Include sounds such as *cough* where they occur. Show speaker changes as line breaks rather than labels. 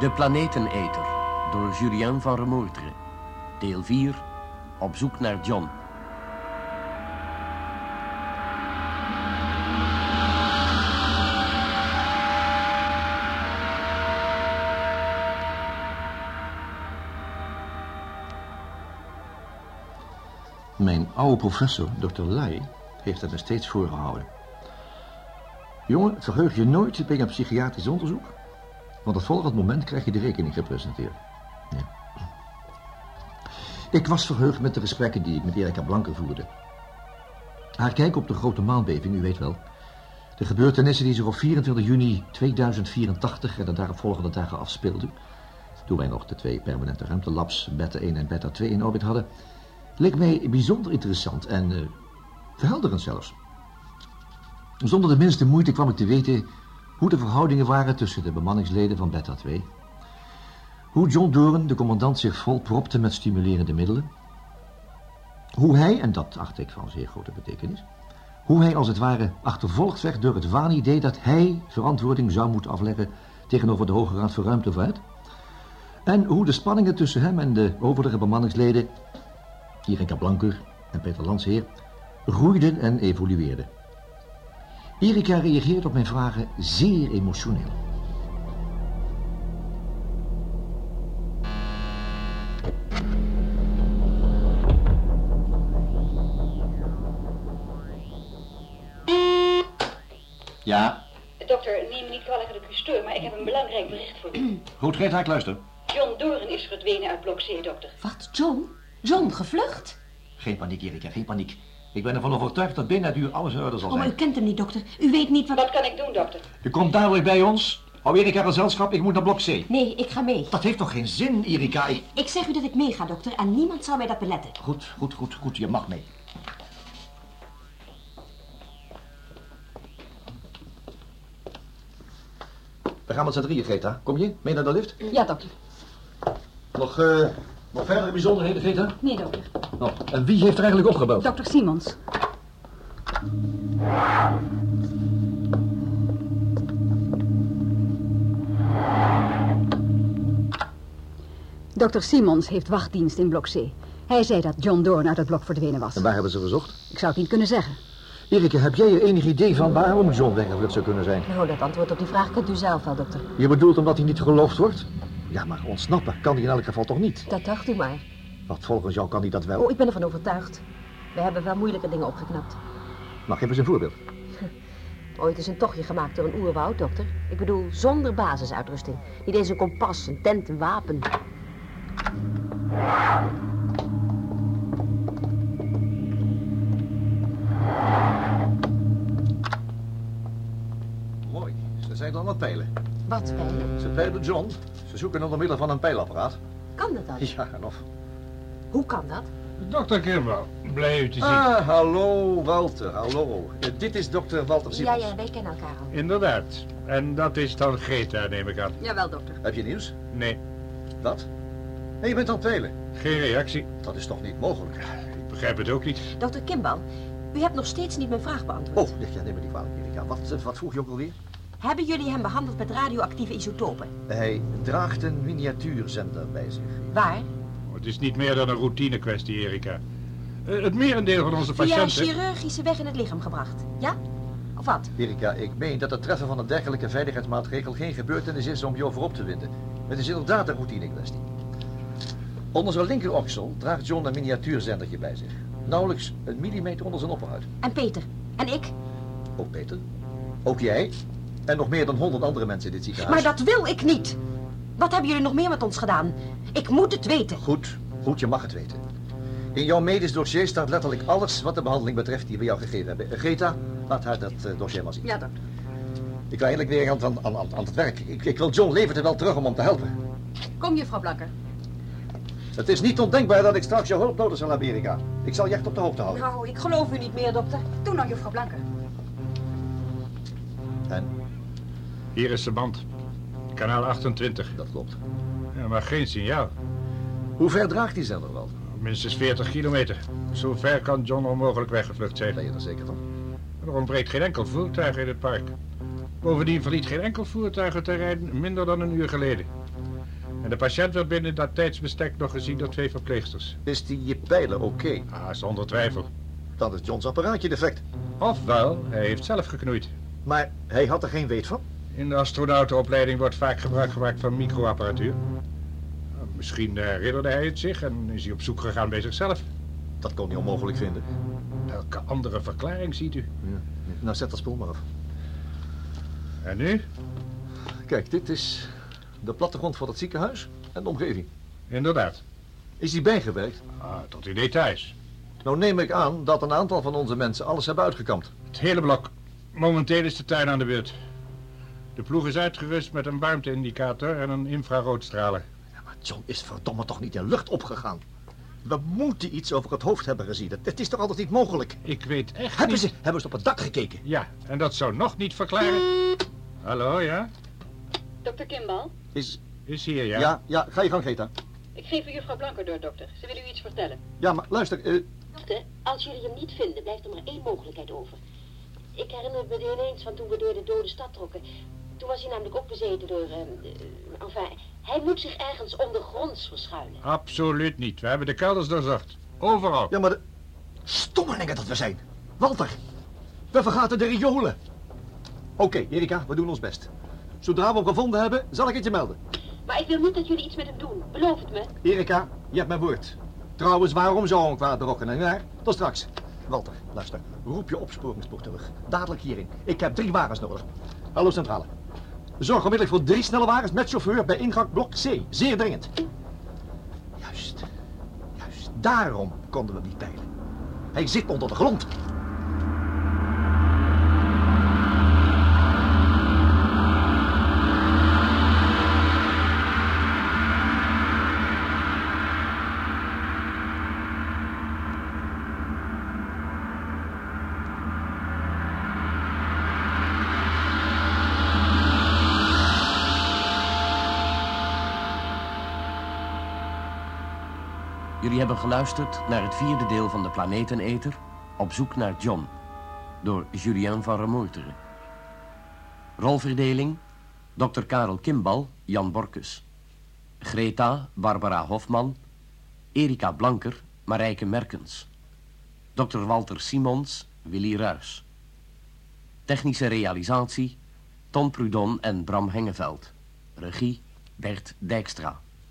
De Planeteneter door Julien van Remoertre. Deel 4. Op zoek naar John.
Mijn oude professor, dokter Lai, heeft dat me steeds voorgehouden. Jongen, verheug je nooit bij een psychiatrisch onderzoek, want op volgend moment krijg je de rekening gepresenteerd. Ja. Ik was verheugd met de gesprekken die ik met Erika Blanke voerde. Haar kijk op de grote maanbeving, u weet wel. De gebeurtenissen die zich op 24 juni 2084 en de daaropvolgende dagen afspeelden, toen wij nog de twee permanente ruimtelabs Beta 1 en Beta 2 in orbit hadden, leek mij bijzonder interessant en eh, verhelderend zelfs. Zonder de minste moeite kwam ik te weten hoe de verhoudingen waren tussen de bemanningsleden van Beta 2. Hoe John Doren, de commandant, zich vol propte met stimulerende middelen. Hoe hij, en dat acht ik van zeer grote betekenis, hoe hij als het ware achtervolgd werd door het waanidee dat hij verantwoording zou moeten afleggen tegenover de Hoge Raad voor Ruimtevaart. En hoe de spanningen tussen hem en de overige bemanningsleden Erika Blanker en Peter Landsheer, groeiden en evolueerden. Erika reageert op mijn vragen zeer emotioneel. Ja,
Dokter, neem me niet kwalijk dat ik u stoor, maar ik heb een belangrijk bericht voor u. *clears throat*
goed Greta, ik luister.
John Doren is verdwenen uit blok C, dokter.
Wat, John? John, gevlucht?
Geen paniek, Erika, geen paniek. Ik ben ervan overtuigd dat binnen het uur alles in orde zal
Oh, maar u
zijn.
kent hem niet, dokter. U weet niet wat...
Wat kan ik doen, dokter?
Je komt dadelijk bij ons. Hou Erika gezelschap, ik moet naar blok C.
Nee, ik ga mee.
Dat heeft toch geen zin, Erika? Ik-
Ik zeg u dat ik meega, dokter, en niemand zal mij dat beletten.
Goed, goed, goed, goed. Je mag mee. We gaan met z'n drieën, Greta. Kom je? Mee naar de lift?
Ja, dokter.
Nog, eh, nog verdere bijzonderheden, Greta?
Nee, dokter.
Oh, en wie heeft er eigenlijk opgebouwd?
Dokter Simons.
Dr. Simons heeft wachtdienst in blok C. Hij zei dat John Doorn uit het blok verdwenen was.
En waar hebben ze gezocht?
Ik zou het niet kunnen zeggen.
Erika, heb jij er enig idee van waarom John weggelukt zou kunnen zijn?
Nou, dat antwoord op die vraag kent u zelf wel, dokter.
Je bedoelt omdat hij niet geloofd wordt? Ja, maar ontsnappen kan hij in elk geval toch niet?
Dat dacht u maar.
Want volgens jou kan hij dat wel.
Oh, ik ben ervan overtuigd. We hebben wel moeilijke dingen opgeknapt.
Nou, geef eens een voorbeeld.
Ooit is een tochtje gemaakt door een oerwoud, dokter. Ik bedoel, zonder basisuitrusting. Niet eens een kompas, een tent, een wapen.
Mooi. Ze zijn dan aan het peilen.
Wat pijlen.
Ze peilen John. Ze zoeken onder middel van een peilapparaat.
Kan dat dan?
Ja, en of.
Hoe kan dat?
Dokter Gilmore, blij u te zien.
Ah, hallo Walter, hallo. Eh, dit is dokter Walter
Ja,
Simons.
ja, wij kennen elkaar al.
Inderdaad. En dat is dan Greta, neem ik aan.
Jawel, dokter.
Heb je nieuws?
Nee,
Wat? Nee, je bent aan het peilen.
geen reactie.
Dat is toch niet mogelijk?
Ik begrijp het ook niet.
Dokter Kimbal, u hebt nog steeds niet mijn vraag beantwoord.
Oh, ja, ja, neem me niet kwalijk, Erika. Wat, eh, wat vroeg je ook alweer?
Hebben jullie hem behandeld met radioactieve isotopen?
Hij draagt een miniatuurzender bij zich.
Waar?
Het is niet meer dan een routine kwestie, Erika. Eh, Het merendeel van onze
Via een
patiënten...
chirurgische weg in het lichaam gebracht. Ja? Of wat?
Erika, ik meen dat het treffen van een dergelijke veiligheidsmaatregel geen gebeurtenis is om je over op te winden. Het is inderdaad een routine kwestie. Onder zijn linkeroksel draagt John een miniatuurzendertje bij zich. Nauwelijks een millimeter onder zijn opperhuid.
En Peter? En ik?
Ook Peter, ook jij en nog meer dan honderd andere mensen in dit ziekenhuis.
Maar dat wil ik niet. Wat hebben jullie nog meer met ons gedaan? Ik moet het weten.
Goed, goed, je mag het weten. In jouw medisch dossier staat letterlijk alles wat de behandeling betreft die we jou gegeven hebben. Eh, Greta, laat haar dat eh, dossier maar zien.
Ja, dokter.
Ik wil eindelijk weer aan, aan, aan, aan het werk. Ik, ik wil John levend en wel terug om hem te helpen.
Kom, juffrouw Blakker.
Het is niet ondenkbaar dat ik straks jouw hulp nodig zal hebben, Erika. Ik zal je echt op de hoogte houden.
Nou, ik geloof u niet meer, dokter.
Doe nou, juffrouw Blakker.
En
Hier is de band. Kanaal 28.
dat klopt.
Ja, maar geen signaal.
Hoe ver draagt die zender wel?
Minstens 40 kilometer. Zo ver kan John onmogelijk weggevlucht zijn.
Ben je er zeker van?
Er ontbreekt geen enkel voertuig in het park. Bovendien verliet geen enkel voertuig het terrein minder dan een uur geleden. En de patiënt werd binnen dat tijdsbestek nog gezien door twee verpleegsters.
Is die pijler oké?
Ah, zonder twijfel.
Dan is Johns apparaatje defect.
Ofwel, hij heeft zelf geknoeid.
Maar hij had er geen weet van.
In de astronautenopleiding wordt vaak gebruik gemaakt van microapparatuur. Nou, Misschien eh, herinnerde hij het zich en is hij op zoek gegaan bij zichzelf.
Dat kon hij onmogelijk vinden.
Welke andere verklaring ziet u?
Nou, zet dat spul maar af.
En nu?
Kijk, dit is de plattegrond van het ziekenhuis en de omgeving.
Inderdaad.
Is die bijgewerkt?
Ah, tot in details.
Nou neem ik aan dat een aantal van onze mensen alles hebben uitgekampt.
Het hele blok. Momenteel is de tuin aan de beurt. De ploeg is uitgerust met een warmteindicator en een infraroodstraler.
Maar John is verdomme toch niet in lucht opgegaan. We moeten iets over het hoofd hebben gezien. Het, het is toch altijd niet mogelijk?
Ik weet echt
Hebben
niet...
ze, hebben ze Hmm. op het dak gekeken?
Ja, en dat zou nog niet verklaren... Hallo, ja?
Dokter Kimbal,
Is,
Is hier, ja?
ja. ja, ga je gang, Geta.
ik geef u juffrouw Blanker door, dokter. Ze wil u iets vertellen.
Ja, maar luister, eh,
Dokter, als jullie hem niet vinden, blijft er maar één mogelijkheid over. Ik herinner me ineens van toen we door de dode stad trokken. Toen was hij namelijk ook bezeten door... eh, eh, enfin, hij moet zich ergens ondergronds verschuilen.
Absoluut niet. We hebben de kelders doorzocht. Overal.
ja, maar de... Stommelingen dat we zijn. Walter, we vergaten de riolen. Oké, Erika, we doen ons best. Zodra we hem gevonden hebben, zal ik het je melden.
Maar ik wil niet dat jullie iets met hem doen. Beloof het me.
Erika, je hebt mijn woord. Trouwens, waarom zou ik kwaad brokken en naar? Tot straks. Walter, luister. Roep je opsporingsploeg terug. Dadelijk hierin. Ik heb drie wagens nodig. Hallo Centrale. Zorg onmiddellijk voor drie snelle wagens met chauffeur bij ingang blok C. Zeer dringend. Juist. Juist. Daarom konden we hem niet peilen. Hij zit onder de grond.
Jullie hebben geluisterd naar het vierde deel van de Planeteneter op zoek naar John door Julien van Remoeteren. Rolverdeling: Dr. Karel Kimbal, Jan Borkus. Greta, Barbara Hofman. Erika Blanker, Marijke Merkens. Dr. Walter Simons, Willy Ruys. Technische realisatie: Ton Prudon en Bram Hengeveld. Regie: Bert Dijkstra.